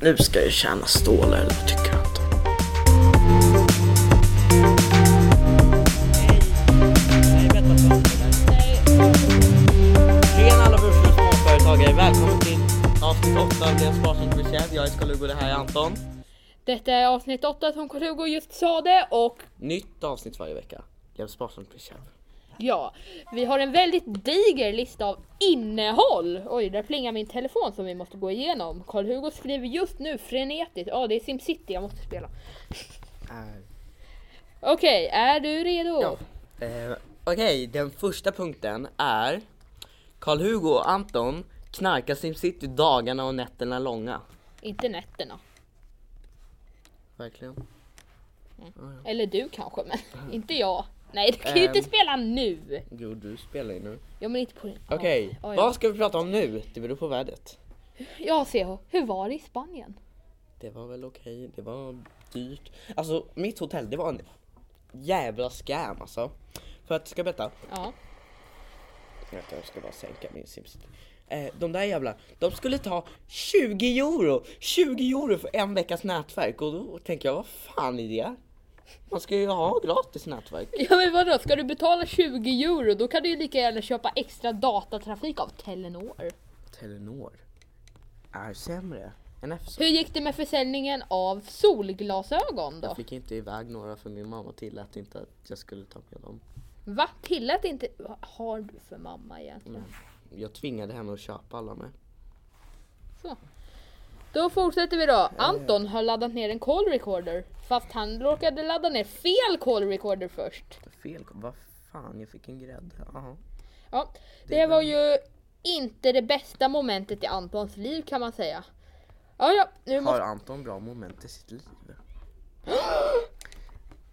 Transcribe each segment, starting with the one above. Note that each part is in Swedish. nu ska jag tjäna stålar, det tycker jag inte. Tjena alla börsliga småföretagare! Välkommen till avsnitt 8 av Deras Sparsamt Reserve. Jag är Skalugo, det här är Anton. Detta är avsnitt 8 som Carl-Hugo just sa det och Nytt avsnitt varje vecka. Lev sparsamt Reserve. ja, vi har en väldigt diger lista av innehåll. Oj, där plingar min telefon som vi måste gå igenom. Carl-Hugo skriver just nu frenetiskt. Ja, det är SimCity jag måste spela. Okej, är du redo? Ja. Eh, Okej, den första punkten är Karl-Hugo och Anton knarkar SimCity dagarna och nätterna långa. Inte nätterna. Verkligen. Eller du kanske, men inte jag. Nej, du kan ju inte Mm. Ehm. spela nu. Jo, du spelar ju nu. Ja, men inte på din. Okej, Ja, ja. vad ska vi prata om nu? Det beror på vädret. Ja, CH. Hur var det i Spanien? Det var väl okej, det var dyrt. Alltså mitt hotell, det var en jävla scam alltså. För att, ska jag berätta? Ja. Vänta, jag ska bara sänka min simsit. Eh, de där jävla, de skulle ta 20 euro! 20 euro för en veckas nätverk och då tänker jag, vad fan är det? Man ska ju ha gratis nätverk. Ja men vadå, ska du betala 20 euro då kan du ju lika gärna köpa extra datatrafik av Telenor. Telenor är sämre än Efsa. Hur gick det med försäljningen av solglasögon då? Jag fick inte iväg några för min mamma tillät inte att jag skulle ta med dem. Va? Tillät inte... Vad har du för mamma egentligen? Mm. Jag tvingade henne att köpa alla med. Så. Då fortsätter vi då. Anton har laddat ner en call recorder. Fast han råkade ladda ner fel call recorder först. Fel, vad fan, jag fick en grädde. Jaha. Ja, Det det var- var ju inte det bästa momentet i Antons liv kan man säga. Ja, ja, nu måste... Har Anton bra moment i sitt liv?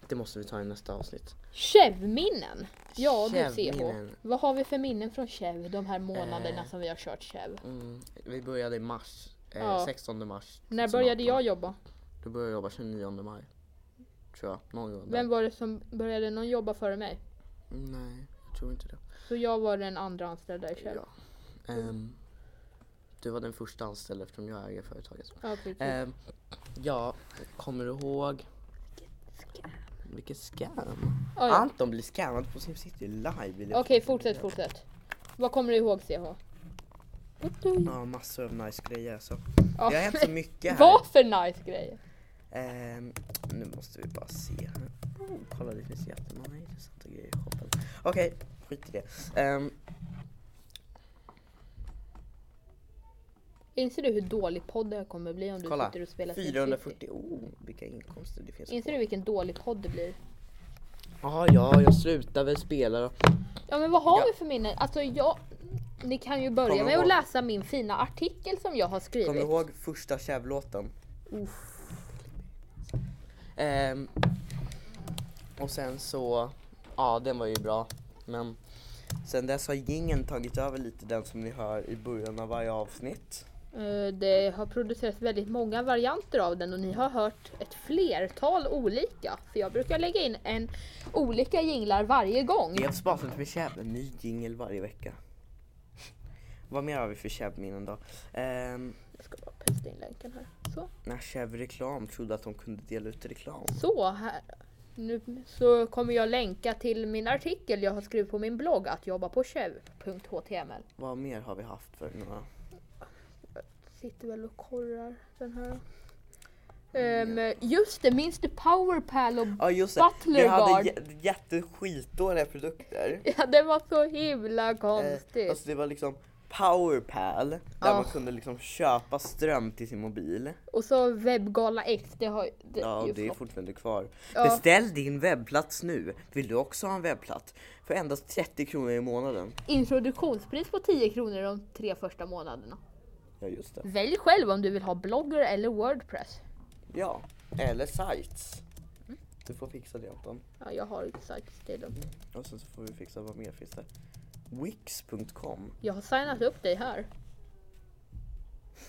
Det måste vi ta i nästa avsnitt. Kävminnen! Ja du CH. Kävminnen. Vad har vi för minnen från Käv de här månaderna Eh. som vi har kört Käv? Mm, vi började i mars, eh, Ja. 16 mars. När 2018. började jag jobba? Du började jobba 29 maj. Tror jag, någon gång. där. Vem var det som började någon jobba före mig? Nej, jag tror inte det. Så jag var den andra anställda i Käv. Ja. Ehm, du var den första anställda eftersom jag äger företaget. Ja, precis. Ehm, ja, kommer du ihåg? Vilken scam. Ah, Ja, ja. Anton blir scammad på SimCity live. vill jag Okej, säga. fortsätt, fortsätt. Vad kommer du ihåg CH? What do you- Ja, massor av nice grejer alltså. Ja. Det har hänt så mycket här. Ah. Vad för nice grejer! Ehm, nu måste vi bara se här. Oh, kolla det finns jättemånga intressanta grejer i shoppen. Okej, skit i det. Ehm, Inser du hur dålig podden kommer bli om du kolla, sitter och spelar Sin City? 440. Oh, vilka inkomster det finns. Inser du vilken dålig podd det blir? Ja, ja, jag slutar väl spela då. Ja men vad har Ja. vi för minnen? Alltså jag... Ni kan ju börja Kommer du med att ihåg? läsa min fina artikel som jag har skrivit. Kommer du ihåg första Chev-låten? Ehm, och sen så, ja den var ju bra. Men sen dess har gingen tagit över lite den som ni hör i början av varje avsnitt. Eh, Det har producerats väldigt många varianter av den och ni har hört ett flertal olika. För jag brukar lägga in en olika jinglar varje gång. Dels basen med Cheb, en ny jingel varje vecka. Vad mer har vi för Cheb-minnen då? Ehm, Jag ska bara pesta in länken här. Så, när Cheb Reklam trodde att de kunde dela ut reklam. så här. Nu så kommer jag länka till min artikel jag har skrivit på min blogg att jobba på chev.html. Vad mer har vi haft för några? Sitter väl och korrar den här. Ehm, just det, minns du Powerpal och Ja just det, Butler vi hade Guard. jä- jätteskitdåliga produkter. Ja, det var så himla Eh, konstigt. Ah. alltså det var liksom Powerpal, där Ja. man kunde liksom köpa ström till sin mobil. Och så Webbgala X, det har det, Ja, ju det är flott. fortfarande kvar. Ja. Beställ din webbplats nu. Vill du också ha en webbplats? För endast 30 kronor i månaden. Introduktionspris på 10 kronor de tre första månaderna. Ja, just det. Välj själv om du vill ha blogger eller Wordpress. Ja, eller sites. Du får fixa det Anton. Ja, jag har inte sagt det. är lugnt. Och sen så får vi fixa vad mer finns det. Wix.com. Jag har signat upp dig här.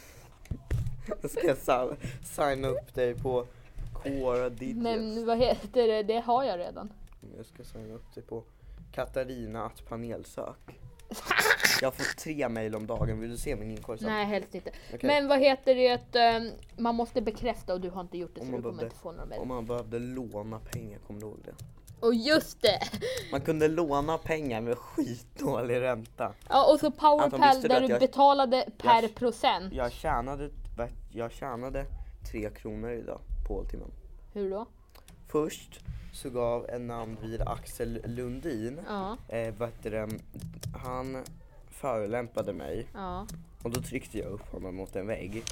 Då ska jag sa- signa upp dig på Quora Digits. Men vad heter det? Det har jag redan. Jag ska signa upp dig på Katarina att panelsök. Jag får tre mejl om dagen, vill du se min inkorg sen? Nej, helst inte. Okej. Men vad heter det att ehm, man måste bekräfta och du har inte gjort det så Om du man, kommer behövde, inte få några om mejl. man behövde låna pengar, kommer du ihåg det? Och just det! Man kunde låna pengar med skitdålig ränta. Ja, och så Anton, powerpal visste du där att du jag- betalade per Jag- procent. Jag tjänade, jag tjänade tre kronor idag på Alltimmen. Hur då? Först så gav en namn vid Axel Lundin, Ja, eh, vad heter det, han förolämpade mig ja. och då tryckte jag upp honom mot en vägg.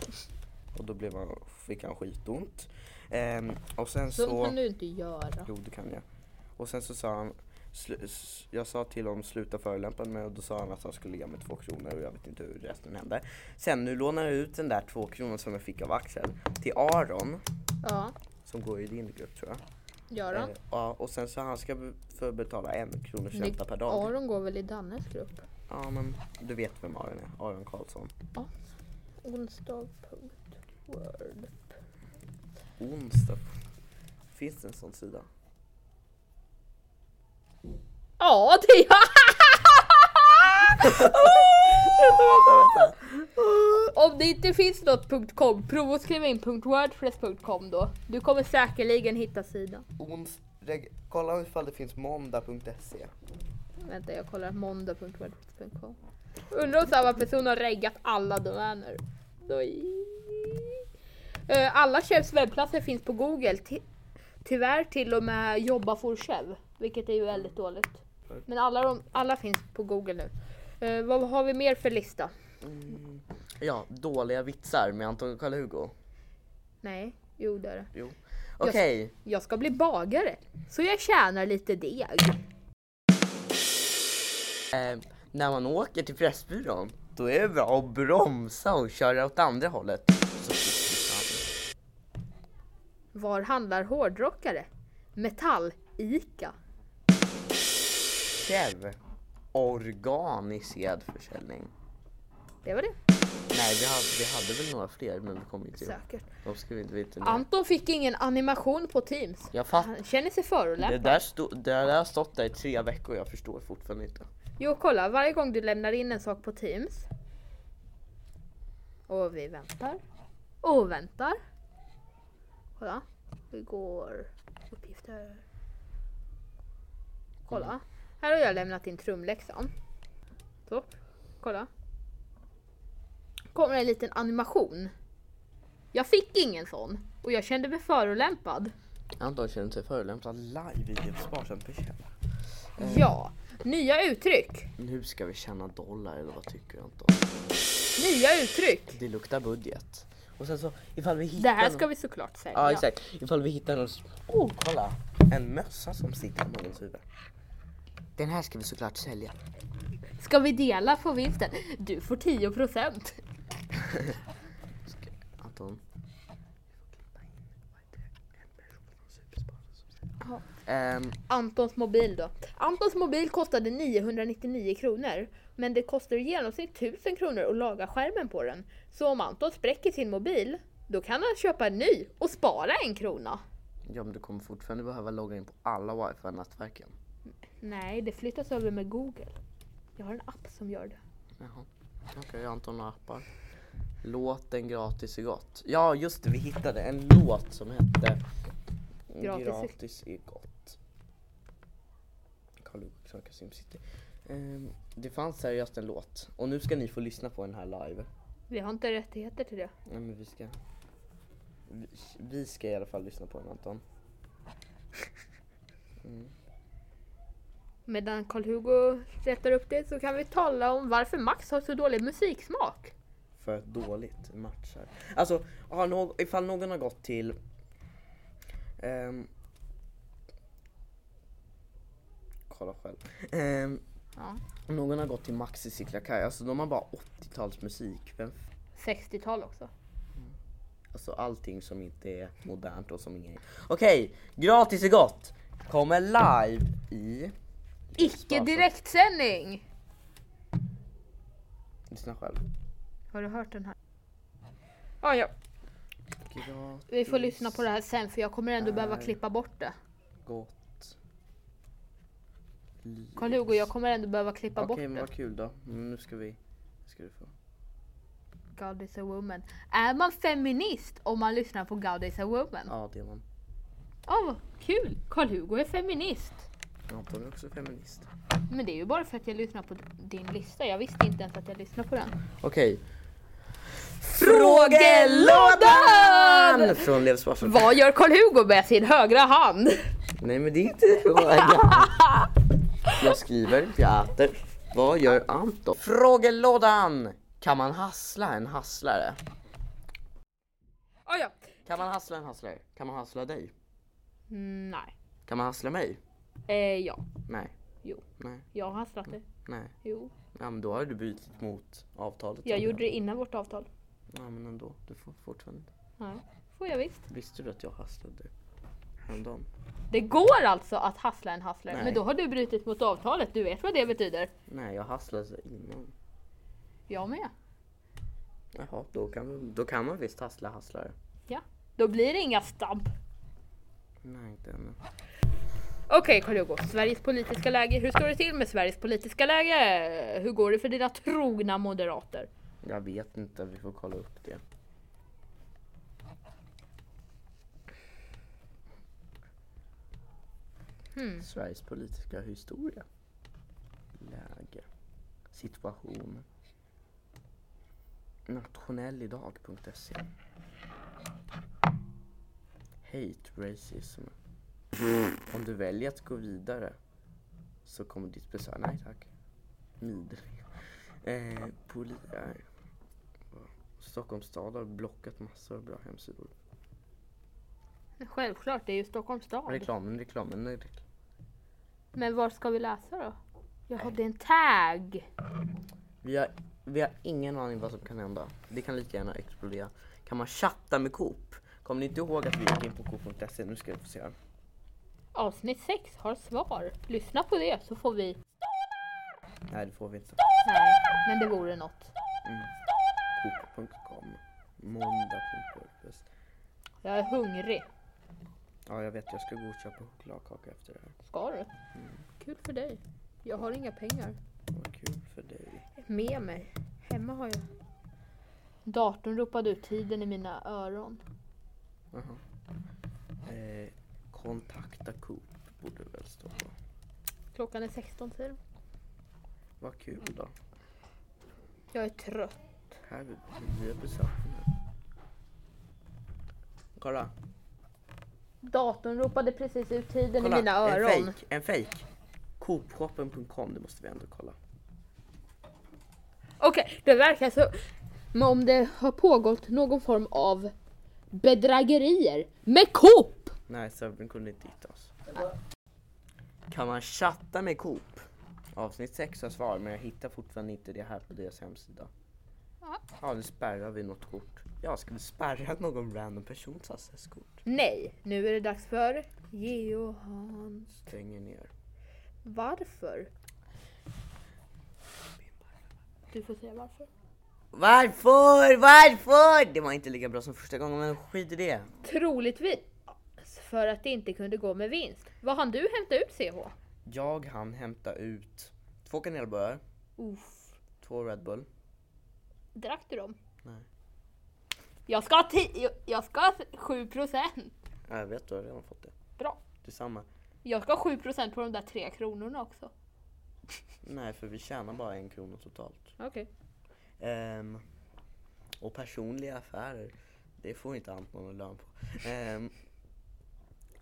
Och då blev han, fick han skitont. Ehm, och sen Så, så... kan du inte göra. Jo, det kan jag. Och sen så sa han, slu- s- jag sa till honom sluta förolämpa mig och då sa han att han skulle ge mig två kronor och jag vet inte hur resten hände. Sen nu lånar jag ut den där två kronor som jag fick av Axel till Aron, Ja, som går i din grupp tror jag. gör han. Eh, ja, och sen så han ska be- för betala en kronor Men det- ränta per dag. Aron går väl i Dannes grupp? Ja, men du vet vem Aron är, Aron Karlsson. Onsdag.word. Onsdag. Finns det en sån sida? Ja, det är Oh! Om det inte finns något .com, prova att skriva in .wordpress.com då. Du kommer säkerligen hitta sidan. Onsdag. Kolla ifall det finns måndag.se. Vänta, jag kollar måndag.wordpress.com. Undrar om samma person har reggat alla domäner. Oj. Eh, Alla chefs webbplatser finns på Google. Ty- Tyvärr till och med jobba for chef, vilket är ju väldigt dåligt. Men alla, de, alla finns på Google nu. Eh, vad har vi mer för lista? Ja, dåliga vitsar med Anton och Karl-Hugo. Nej, jo det är det. Jo. Okej, Jag ska bli bagare, så jag tjänar lite deg. eh, när man åker till Pressbyrån då är det bra att bromsa och köra åt andra hållet. Så fort Var handlar hårdrockare? Metall, Ica. vi kan. Kev, organiserad försäljning. Det var det, Nej, vi hade, vi hade väl några fler men vi kom inte till. säkert. De ska vi inte veta nu. Anton fick ingen animation på Teams. Jag fattar. Han känner sig Det förolämpad. där, stod, det där har stått där i tre veckor jag förstår fortfarande inte. Jo, kolla. Varje gång du lämnar in en sak på Teams. Och vi väntar. Och väntar. Kolla. Vi går uppgifter. Kolla. Här har jag lämnat in trumläxan. Så. Kolla. Kommer en liten animation. Jag fick ingen sån. Och jag kände mig förolämpad. Anton känner sig förolämpad live i ett sparsamt bekännelse. Ja. Nya uttryck. Nu ska vi tjäna dollar eller vad tycker du Anton? Nya uttryck. Det luktar budget. Och sen så ifall vi hittar Det här någon- ska vi såklart säga. Ja exakt, ifall vi hittar någon... Oh kolla! En mössa som sitter på någons huvud. Den här ska vi såklart sälja. Ska vi dela på vinsten? Du får 10%. Anton. Ja. Ehm, Antons mobil då. Antons mobil kostade 999 kronor. Men det kostar i genomsnitt 1000 kronor att laga skärmen på den. Så om Anton spräcker sin mobil, då kan han köpa en ny och spara en krona. ja men du kommer fortfarande behöva logga in på alla wifi-nätverken. Nej, det flyttas över med Google. Jag har en app som gör det. Jaha. Okej, Anton har appar. Låten Gratis är gott. Ja just det, vi hittade en låt som hette Gratis är- Gratis är gott. Karl-Olof Kråka Simcity. Ehm, det fanns seriöst en låt och nu ska ni få lyssna på den här live. Vi har inte rättigheter till det. Nej men vi ska... Vi, vi ska i alla fall lyssna på den Anton. Medan Karl-Hugo rättar upp det så kan vi tala om varför Max har så dålig musiksmak. För att dåligt matchar. Alltså, har någ- ifall någon har gått till... ehm, kolla själv. Ehm, Ja. om någon har gått till Maxi Siklakaj, alltså de har bara 80-talsmusik. Vem 60-tal också. Alltså allting som inte är modernt och som ingen... Okej, gratis är gott! Kommer live i... Icke Alltså, direktsändning! Lyssna själv. Har du hört den här? Ja, ja. Gratis Vi får lyssna på det här sen för jag kommer ändå behöva Nej. klippa bort det. gott. Karl-Hugo, jag kommer ändå behöva klippa Okej, bort men det. vad kul då. Mm, nu ska vi... nu Ska du få. God is a woman. Är man feminist om man lyssnar på God is a woman? Ja, det är man. Åh, vad kul! Karl-Hugo är feminist. Anton är också feminist. Men det är ju bara för att jag lyssnar på din lista. Jag visste inte ens att jag lyssnade på den. Okej. Frågelådan! Från Lev Sparfel. Vad gör Karl-Hugo med sin högra hand? Nej men det är inte frågan. Jag skriver, jag äter. Vad gör Anton? Frågelådan! Kan man hassla en hasslare? Oh, ja. Kan man hassla en hasslare? Kan man hassla dig? Mm, Nej. Kan man hassla mig? Eh, ja. Nej. Jo. Nej, Jag har hasslat det. nej. Jo. Ja men då har du brutit mot avtalet. Jag gjorde det innan vårt avtal. Ja men ändå, du får fortfarande inte. Nej. Får jag visst. Visste du att jag hasslade dig? Häromdagen? Det går alltså att hassla en hasslare. Nej. Men då har du brutit mot avtalet. Du vet vad det betyder. Nej, jag hasslade dig innan. Jag med. Jaha, då kan, då kan man visst hassla hasslare. Ja. Då blir det inga stamp. Nej, inte ännu. Okej Karl-Hugo, Sveriges politiska läge. Hur står det till med Sveriges politiska läge? Hur går det för dina trogna moderater? Jag vet inte, vi får kolla upp det. Sveriges politiska historia. Läge. Situation. Nationellidag.se Hate racism. Om du väljer att gå vidare så kommer ditt besök... Nej tack. Midling. Eh, poli... Nej. Stockholms stad har blockat massor av bra hemsidor. Självklart, det är ju Stockholms stad. Reklamen, reklamen, rekl- Men var ska vi läsa då? Jaha, det är en tag. Vi har, vi har ingen aning vad som kan hända. Det kan lika gärna explodera. Kan man chatta med Coop? Kommer ni inte ihåg att vi gick in på coop.se? Nu ska vi få se. här. Avsnitt 6 har svar. Lyssna på det så får vi... Nej, det får vi inte. Nej, men det vore något. Coop.com. Måndag.wordpress. Jag är hungrig. Ja, jag vet. Jag ska gå och köpa chokladkaka efter det här. Ska du? Kul för dig. Jag har inga pengar. Vad kul för dig. Med mig. Hemma har jag. Datorn ropade ut tiden i mina öron. Jaha. Eh, kontakta Coop borde det väl stå på. Klockan är 16 säger de. Vad kul då. Jag är trött. Här är nya besökare. Kolla. Datorn ropade precis ut tiden Kolla, i mina En öron. fake, en fake. Coopshoppen.com, det måste vi ändå kolla. Okej, det verkar så. Men om det har pågått någon form av bedrägerier med Coop! Nej, servern kunde inte hitta oss. Kan man chatta med Coop? Avsnitt 6 har svar, men jag hittar fortfarande inte det här på deras hemsida. Ja. Ja, nu spärrar vi något kort. Ja, ska vi spärra någon random persons accesskort? Nej, nu är det dags för Geo Hans. Stänger ner. Varför? Du får säga varför. Varför? Varför? Det var inte lika bra som första gången, men skit i det. Troligtvis för att det inte kunde gå med vinst. Vad hann du hämta ut CH? Jag hann hämta ut två kanelbullar, Uff. två Red Bull. Drack du dem? Nej. Jag ska ha ti- jag ska ha 7%. Ja, jag vet, du har redan fått det. Bra. Detsamma. Jag ska ha 7% på de där tre kronorna också. Nej, för vi tjänar bara en krona totalt. Okej. Ehm, och personliga affärer, det får inte Anton någon lön på. Ehm,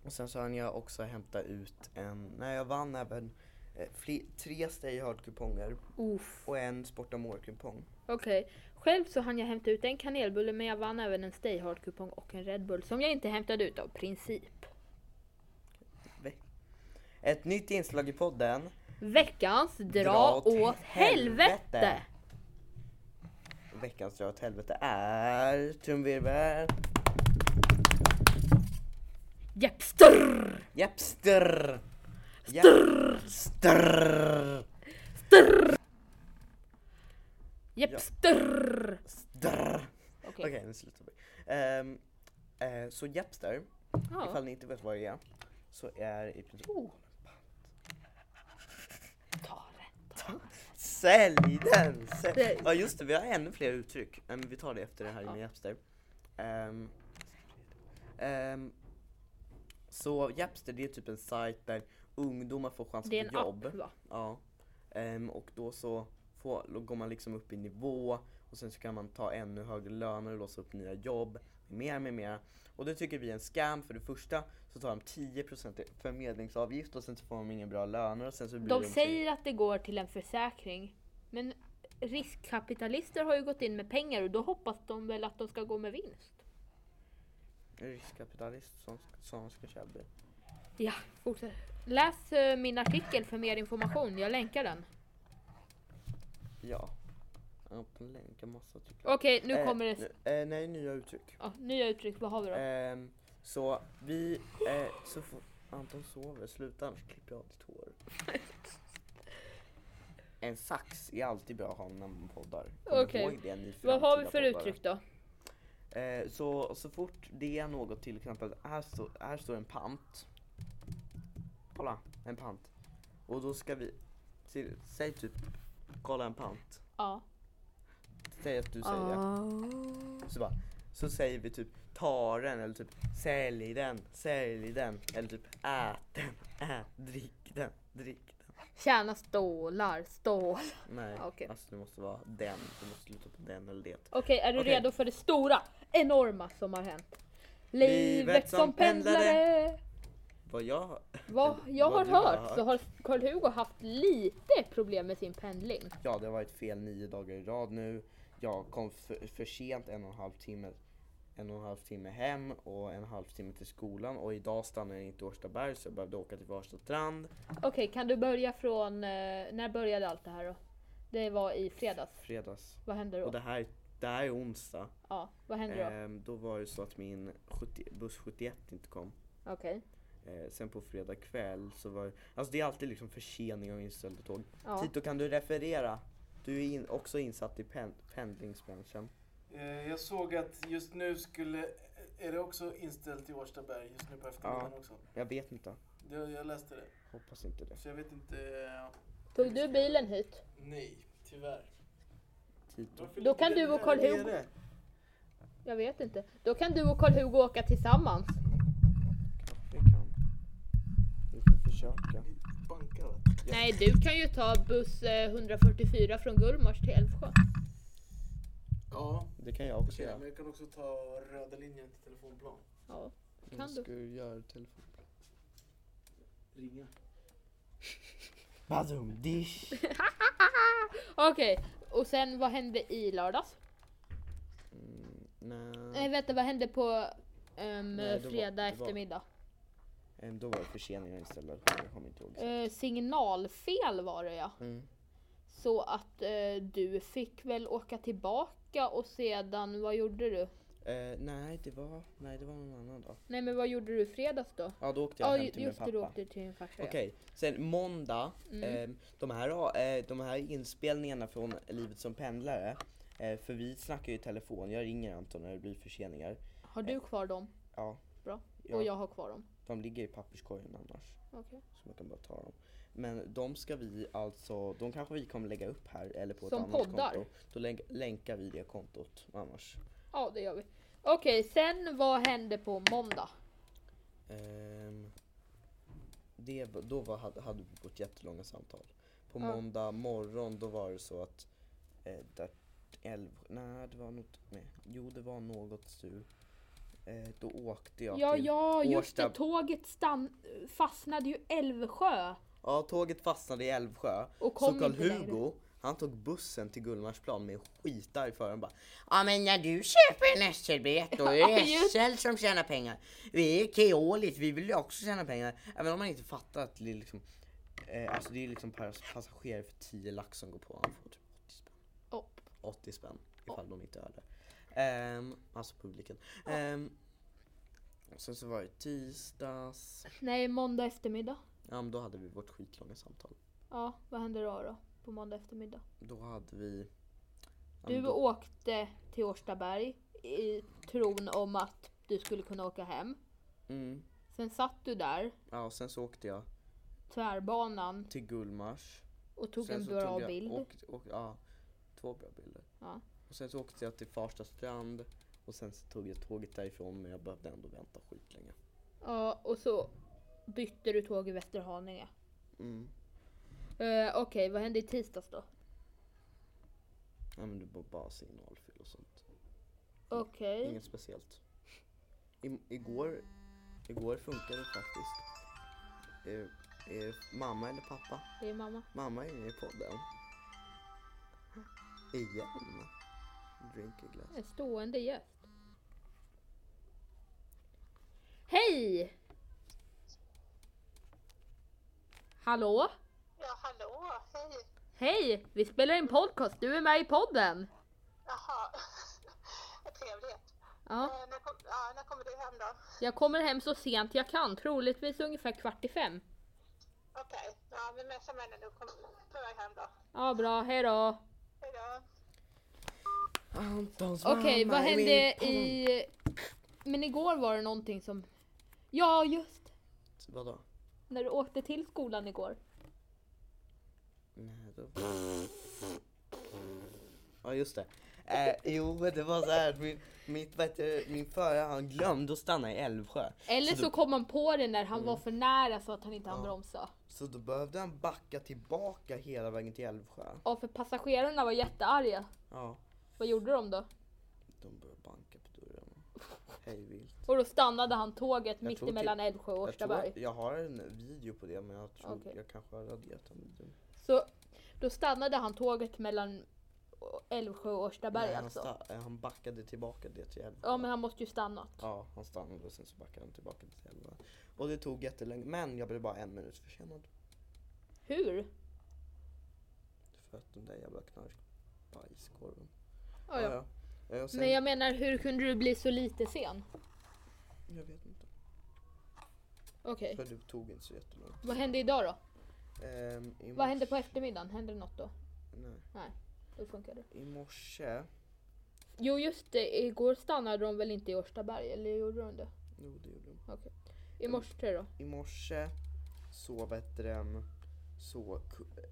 och sen så hann jag också hämta ut en, nej jag vann även eh, fli, tre Stay Hard-kuponger Uff. och en Sport Amore-kupong. Okej. Själv så hann jag hämta ut en kanelbulle men jag vann även en Stay Hard-kupong och en Red Bull som jag inte hämtade ut av princip. Ett nytt inslag i podden. Veckans dra, åt åt helvete! helvete. Veckans dra åt helvete är trumvirvel, Jepster! japp strr! Strr! Strr! Jepster! Strr! Okej. Okej, nu slutar vi. Ehm, eh, så Japster, Ja. ifall ni inte vet vad det är, så är i princip... Oh. Sälj den! Sälj. Sälj. Ja just det, vi har ännu fler uttryck. Eh, Men vi tar det efter det här med Japster. Ehm, ehm, så Japster det är typ en sajt där ungdomar får chans Det är en på jobb. app va? Ja. Ehm, och då så får, då går man liksom upp i nivå och sen så kan man ta ännu högre löner och låsa upp nya jobb. Med mera, med mera. Och det tycker vi är en scam. För det första så tar de 10% i förmedlingsavgift och sen så får de inga bra löner och sen så blir De de säger att det går till en försäkring. Men riskkapitalister har ju gått in med pengar och då hoppas de väl att de ska gå med vinst. riskkapitalist som, som ska köpa bil. Ja, fortsätt. Läs eh, min artikel för mer information. Jag länkar den. Ja. Ja, på länkar massa tycker jag. Okej, nu Eh, kommer det... nu- Eh, nej, nya uttryck. Ja, nya uttryck, vad har vi då? Ehm, så vi... Eh, så får, Anton sover, sluta annars klipper jag av ditt hår. En sax är alltid bra att ha när man poddar. Kom Okej. ihåg det, ni vad har vi framtida för poddare. uttryck då? Eh, så, så fort det är något till exempel, här, står här står en pant. Kolla, en pant. Och då ska vi, se- säg typ, kolla en pant. Ja. Säg att du säger Ah. det. Så, bara, så säger vi typ ta den eller typ sälj den, sälj den eller typ ät den, ät, drick den, drick den. Tjäna stålar, stål. Nej, Ah, okej. alltså det måste vara den, du måste sluta på den eller det. Okej, är du Okej. redo för det stora, enorma som har hänt? Livet som som pendlare. pendlare! Vad jag, Vad jag har Vad du har hört så har Karl-Hugo haft lite problem med sin pendling. ja det har varit fel nio dagar i rad nu. Jag kom för, för sent en och en halv timme en och en halv timme hem och en och en halv timme till skolan och idag stannade jag inte i Årstaberg så jag behövde åka till Farsta strand Okej, kan du börja från... eh, När började allt det här då? Det var i fredags. fredags. Vad hände Och då? det här, det här är onsdag. Ja, vad hände då? Ehm, då var det så att min 70, buss 71 inte kom. Okej. Eh, sen på fredag kväll så var Alltså det är alltid liksom försening och inställda tåg. Ja. Tito kan du referera? Du är in, också insatt i pen, pendlingsbranschen. Eh, Jag såg att just nu skulle... Är det också inställt i Årstaberg just nu på eftermiddagen Ja. också? Jag vet inte. Det, jag läste det. Hoppas inte det. Så jag vet inte... eh, Tog du bilen hit? Nej, tyvärr. Tito. Varför Då ligger kan den du och där Karl-Hugo- nere? Jag vet inte. Då kan du och Karl-Hugo åka tillsammans. Vi kan. Vi får försöka. Bankar va? Nej, du kan ju ta buss eh, 144 från Gullmars till Älvsjö. Ja, Det kan jag också okej. göra. men jag kan också ta röda linjen till telefonplan. Ja, Jag kan du. ska ju göra telefon. Ringa. Badum dish. Okej, och sen vad hände i lördags? Mm, Nej, nej. Eh, vänta, vad hände på ehm, Nej, det var- fredag det var- eftermiddag? Ehm, då var det försening och inställda tåg. Jag kommer inte ihåg. Eh, signalfel var det ja. Mm. Så att eh, du fick väl åka tillbaka och sedan, vad gjorde du? Eh, nej, det var, nej, det var någon annan dag. Nej men vad gjorde du i fredags då? Ja, då åkte jag Ja hem till min just pappa. det, du åkte Mm. till din farsa. ja. Okej, sen måndag. ehm, de, här, eh, de här inspelningarna från Livet som pendlare. Eh, för vi snackar ju i telefon. Jag ringer Anton när det blir förseningar. Har du kvar dem? Ja, Bra. eh, Ja. Och jag har kvar dem. de ligger i papperskorgen annars. Okej. Så man kan bara ta dem. Men de ska vi alltså, de kanske vi kommer lägga upp här eller på Som ett annat poddar. konto. Då länk, länkar vi det kontot annars. Ja det gör vi. Okej, sen vad hände på måndag? Ehm, det, var- då var, hade, hade vi vårt jättelånga samtal. På Ja. måndag morgon då var det så att eh, där, elv, nej, det var något, nej, jo det var något sur. Eh, då åkte jag Ja, till ja, just Årsta. det. Tåget stann, fastnade ju i Älvsjö. Ja, tåget fastnade i Älvsjö. Och kom så inte Karl-Hugo, längre. han tog bussen till Gullmarsplan med skitarg för han bara Ja men när du köper en SL-biljett då är Ja, det just- SL som tjänar pengar. Vi är Keolis, vi vill ju också tjäna pengar. Även om man inte fattar att det är liksom eh, Alltså det är liksom pass- passagerare för 10 lax som går på. Han får typ 80 spänn. Oh. 80 spänn ifall de inte hör det. Ehm, alltså publiken. Ehm, och sen så var det tisdags. Nej, måndag eftermiddag. Ja men då hade vi vårt skitlånga samtal. Ja, vad hände då då? På måndag eftermiddag? Då hade vi... Ja, Du men då, åkte till Årstaberg i tron om att du skulle kunna åka hem. mm, Sen satt du där, ja, och sen så åkte jag tvärbanan. till Gullmars. Och tog Sen en så bra tog jag- bild. åkte- åkte- ja, två bra bilder. Ja. Och sen så åkte jag till Farsta strand och sen så tog jag tåget därifrån men jag behövde ändå vänta skitlänge. ja, och så bytte du tåg i Västerhaninge. Mm. Eh, Okej, vad hände i tisdags då? Ja men det var bara signalfel och sånt. Okej. Inget speciellt. I, igår, igår funkade det faktiskt. Är, är det mamma eller pappa? Det är mamma. Mamma är med i podden. Igen. Drink a glass. En stående gäst. Hej! Hallå? Ja, hallå, hej. Hej! Vi spelar in podcast, du är med i podden! Jaha, trevligt. Ja, Eh, när, kom, ja, när kommer du hem då? jag kommer hem så sent jag kan, troligtvis ungefär kvart i fem. Okej, ja, vi messar med dig nu. Kom på väg hem då. Ja, bra, hejdå! Hej då. Antons Okej, mamma vad är med hände podden. i... Men igår var det någonting som... Ja, just! Vadå? När du åkte till skolan igår. Nej, då... Ja just det. Eh, jo men det var så här, min, mitt, vet du, min förare han glömde att stanna i Älvsjö. Eller så, så, Mm. då, kom han på det när han var för nära så att han inte hann bromsa. så då behövde han backa tillbaka hela vägen till Älvsjö. Ja, för passagerarna var jättearga. Ja, Vad gjorde de då? de började banka på dörren. Hej vilt. Och då stannade han tåget mitt tror emellan Älvsjö och Jag, tror, Årstaberg. att- jag har en video på det men jag tror Okej. jag kanske har raderat den videon. Så då stannade han tåget mellan Älvsjö och Årstaberg Nej, han, alltså. sta- eh, han backade tillbaka det till Älvsjö. Ja, men han måste ju stannat. Ja, han stannade och sen så backade han tillbaka till Älvsjö. Och det tog jättelänge men jag blev bara en minut försenad. Hur? För att den där jävla knarkbajskorven. Ja, ja. ja. Ja, och sen, Men jag... jag menar, hur kunde du bli så lite sen? vet inte. Okej. För det tog inte så jättelångt. Vad hände idag då? Ehm, i Vad morse, hände på eftermiddagen? Hände det något då? nej, Nej, då funkar det. I morse, Jo just det, igår stannade de väl inte i Årstaberg? Eller gjorde de det? jo det gjorde de. Okej. I morse då? I morse så vet du den, så ku-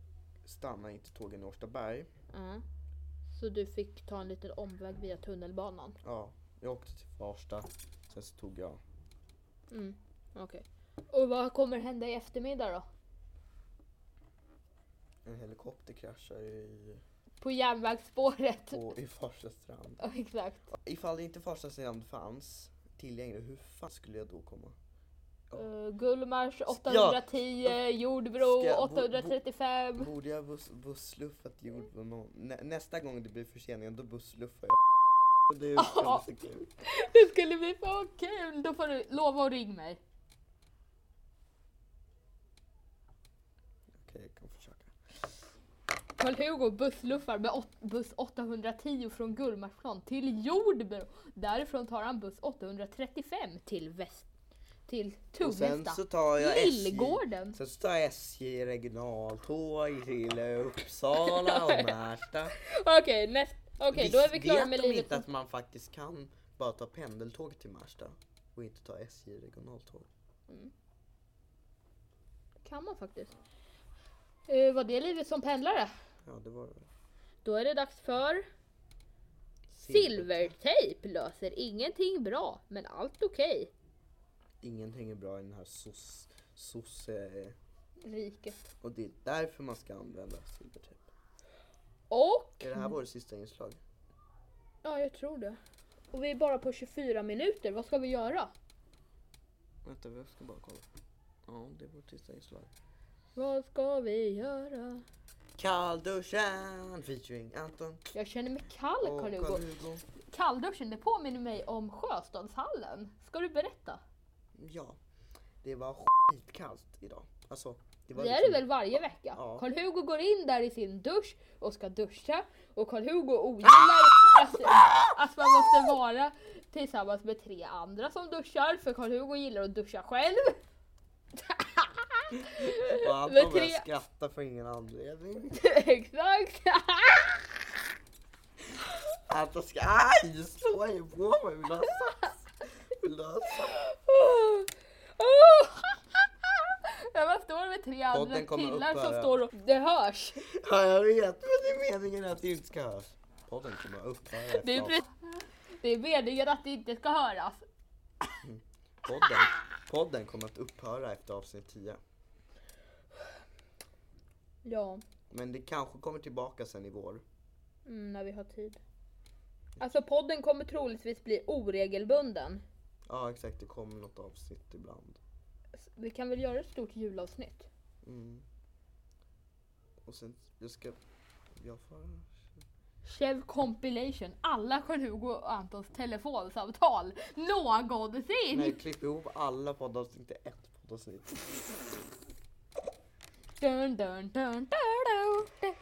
stannade inte tågen i Årstaberg. Ja. Så du fick ta en liten omväg via tunnelbanan? Ja, jag åkte till Farsta. Sen så tog jag, Mm, okej. Och vad kommer hända i eftermiddag då? en helikopter kraschade i, På järnvägsspåret? på, i Farsta strand. Ja, Exakt. Ifall inte Farsta strand fanns tillgänglig, hur fan skulle jag då komma? Ja. Eh, Gullmars 810, Jordbro Ska jag bo- bo- 835. Borde jag buss, bussluffat jord på någon? Nä, nästa gång det blir förseningar då bussluffar jag. Det är Ja. väldigt kul. Det skulle bli så kul! Då får du lova att ringa mig. Okej, jag kan försöka. Karl-Hugo bussluffar med åt- buss 810 från Gullmarsplan till Jordbro. Därifrån tar han buss 835 till väst... Till Och sen Tungelsta. så tar jag SJ. Lillgården. Sen så tar jag SJ regionaltåg till Uppsala och Märsta. Okej, näst... Okej, då är vi klara Vet med de livet. inte att man faktiskt kan bara ta pendeltåg till Märsta och inte ta SJ regionaltåg? Kan man faktiskt. Eh, vad det är livet som pendlare? Ja, det var Då är det dags för Silvertejp löser ingenting bra, men allt okej. Ingenting är bra i den här soss... sosse... Riket. Och det är därför man ska använda silvertejp. Och... Är det här vårt sista inslag? Ja, jag tror det. Och vi är bara på 24 minuter, vad ska vi göra? Vänta, jag ska bara kolla. Ja, det är vårt sista inslag. Vad ska vi göra? Kallduschen featuring Anton Jag känner mig kall och Carl-Hugo. Carl-Hugo. Kallduschen, det påminner mig om Sjöstadshallen. Ska du berätta? Ja, det var skitkallt idag. Alltså, det var Det är det liksom- väl varje vecka? Ja. Karl-Hugo går in där i sin dusch och ska duscha och Karl-Hugo ogillar Ah! att, att man måste vara tillsammans med tre andra som duschar för Karl-Hugo gillar att duscha själv. Och Anton Men tre- började skratta för ingen anledning. Exakt! Anton ska... Aj! Du slår ju på mig! Vill du ha sax? Vill du ha sax? Oh. När man står med tre andra Podden kommer killar som upphöra. står och... Det hörs! Ja, jag vet. Men det är meningen att det inte ska höras. Podden kommer upphöra efter Det är, avsnittet. pre- det är meningen att det inte ska höras. podden, podden kommer att upphöra efter avsnitt 10. Ja, Men det kanske kommer tillbaka sen i vår. mm, när vi har tid. Alltså podden kommer troligtvis bli oregelbunden. Ja, exakt. Det kommer något avsnitt ibland. Vi kan väl göra ett stort julavsnitt? Mm. Och sen, jag ska... Jag får... Mm. Chev compilation, alla Carl-Hugo och Antons telefonsamtal någonsin! Nej, klipp ihop alla poddavsnitt, inte ett poddavsnitt. Dun, dun, dun, dun, dun, dun.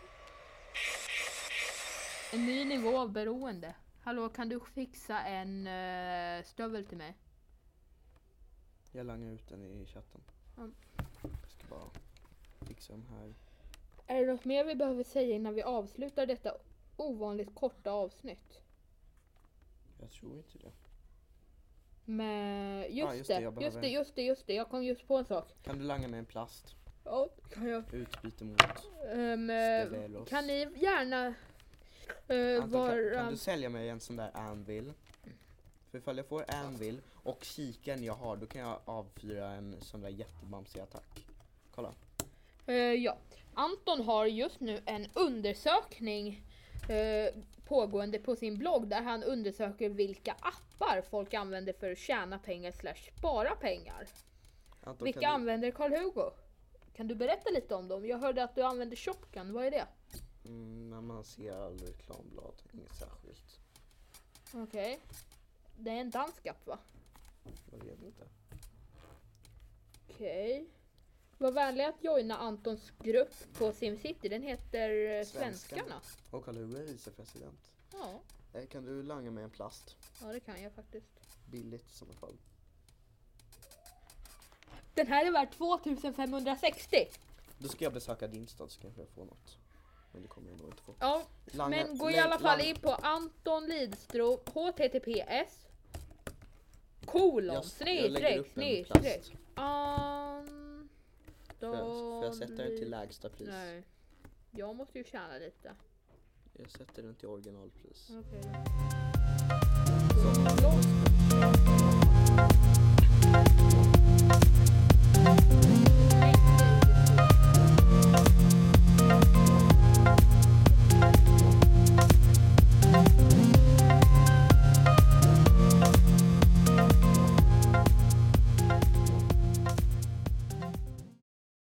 En ny nivå av beroende. Hallå, kan du fixa en eh, stövel till mig? Jag langar ut den i chatten. Mm. Jag ska bara fixa dem här. Är det något mer vi behöver säga innan vi avslutar detta ovanligt korta avsnitt? Jag tror inte det. Men just, Ah, just det, det, jag behöver just det, en. just det, just det, jag kom just på en sak. Kan du langa mig en plast? Ja, kan jag. Utbyte mot... Ehm, Ställer eh, oss. kan ni gärna eh, Anton, kan, vara... kan du sälja mig en sån där anvil? För ifall jag får anvil och kikaren jag har, då kan jag avfyra en sån där jättebamsig attack. Kolla. Eh, ja. Anton har just nu en undersökning eh, pågående på sin blogg där han undersöker vilka appar folk använder för att tjäna pengar slash spara pengar. Anton, vilka kan använder Karl-Hugo? Kan du berätta lite om dem? Jag hörde att du använder Shopgun, vad är det? du, mm, När man ser all reklamblad, inget särskilt. Okej. Det är en dansk app va? Jag vet inte. Okej. Var vänlig att joina Antons grupp på SimCity, den heter eh, Svenskarna. Svenskarna. Och Karl-Hugo är vicepresident. Ja, Eh, Kan du langa mig en plast? ja, det kan jag faktiskt. Billigt i sådana fall. Den här är värd 2560! Då ska jag besöka din stad så kanske jag får något. Men det kommer jag nog inte få. Ja, Lange- men gå i Lang- alla fall Lang- in på Anton Lidström, https kolon Jag- jag lägger snedstreck upp en snedstreck plast. Anton Får jag, får jag sätta den till lägsta pris? Nej, jag måste ju tjäna lite. Jag sätter den till originalpris. Okej Som-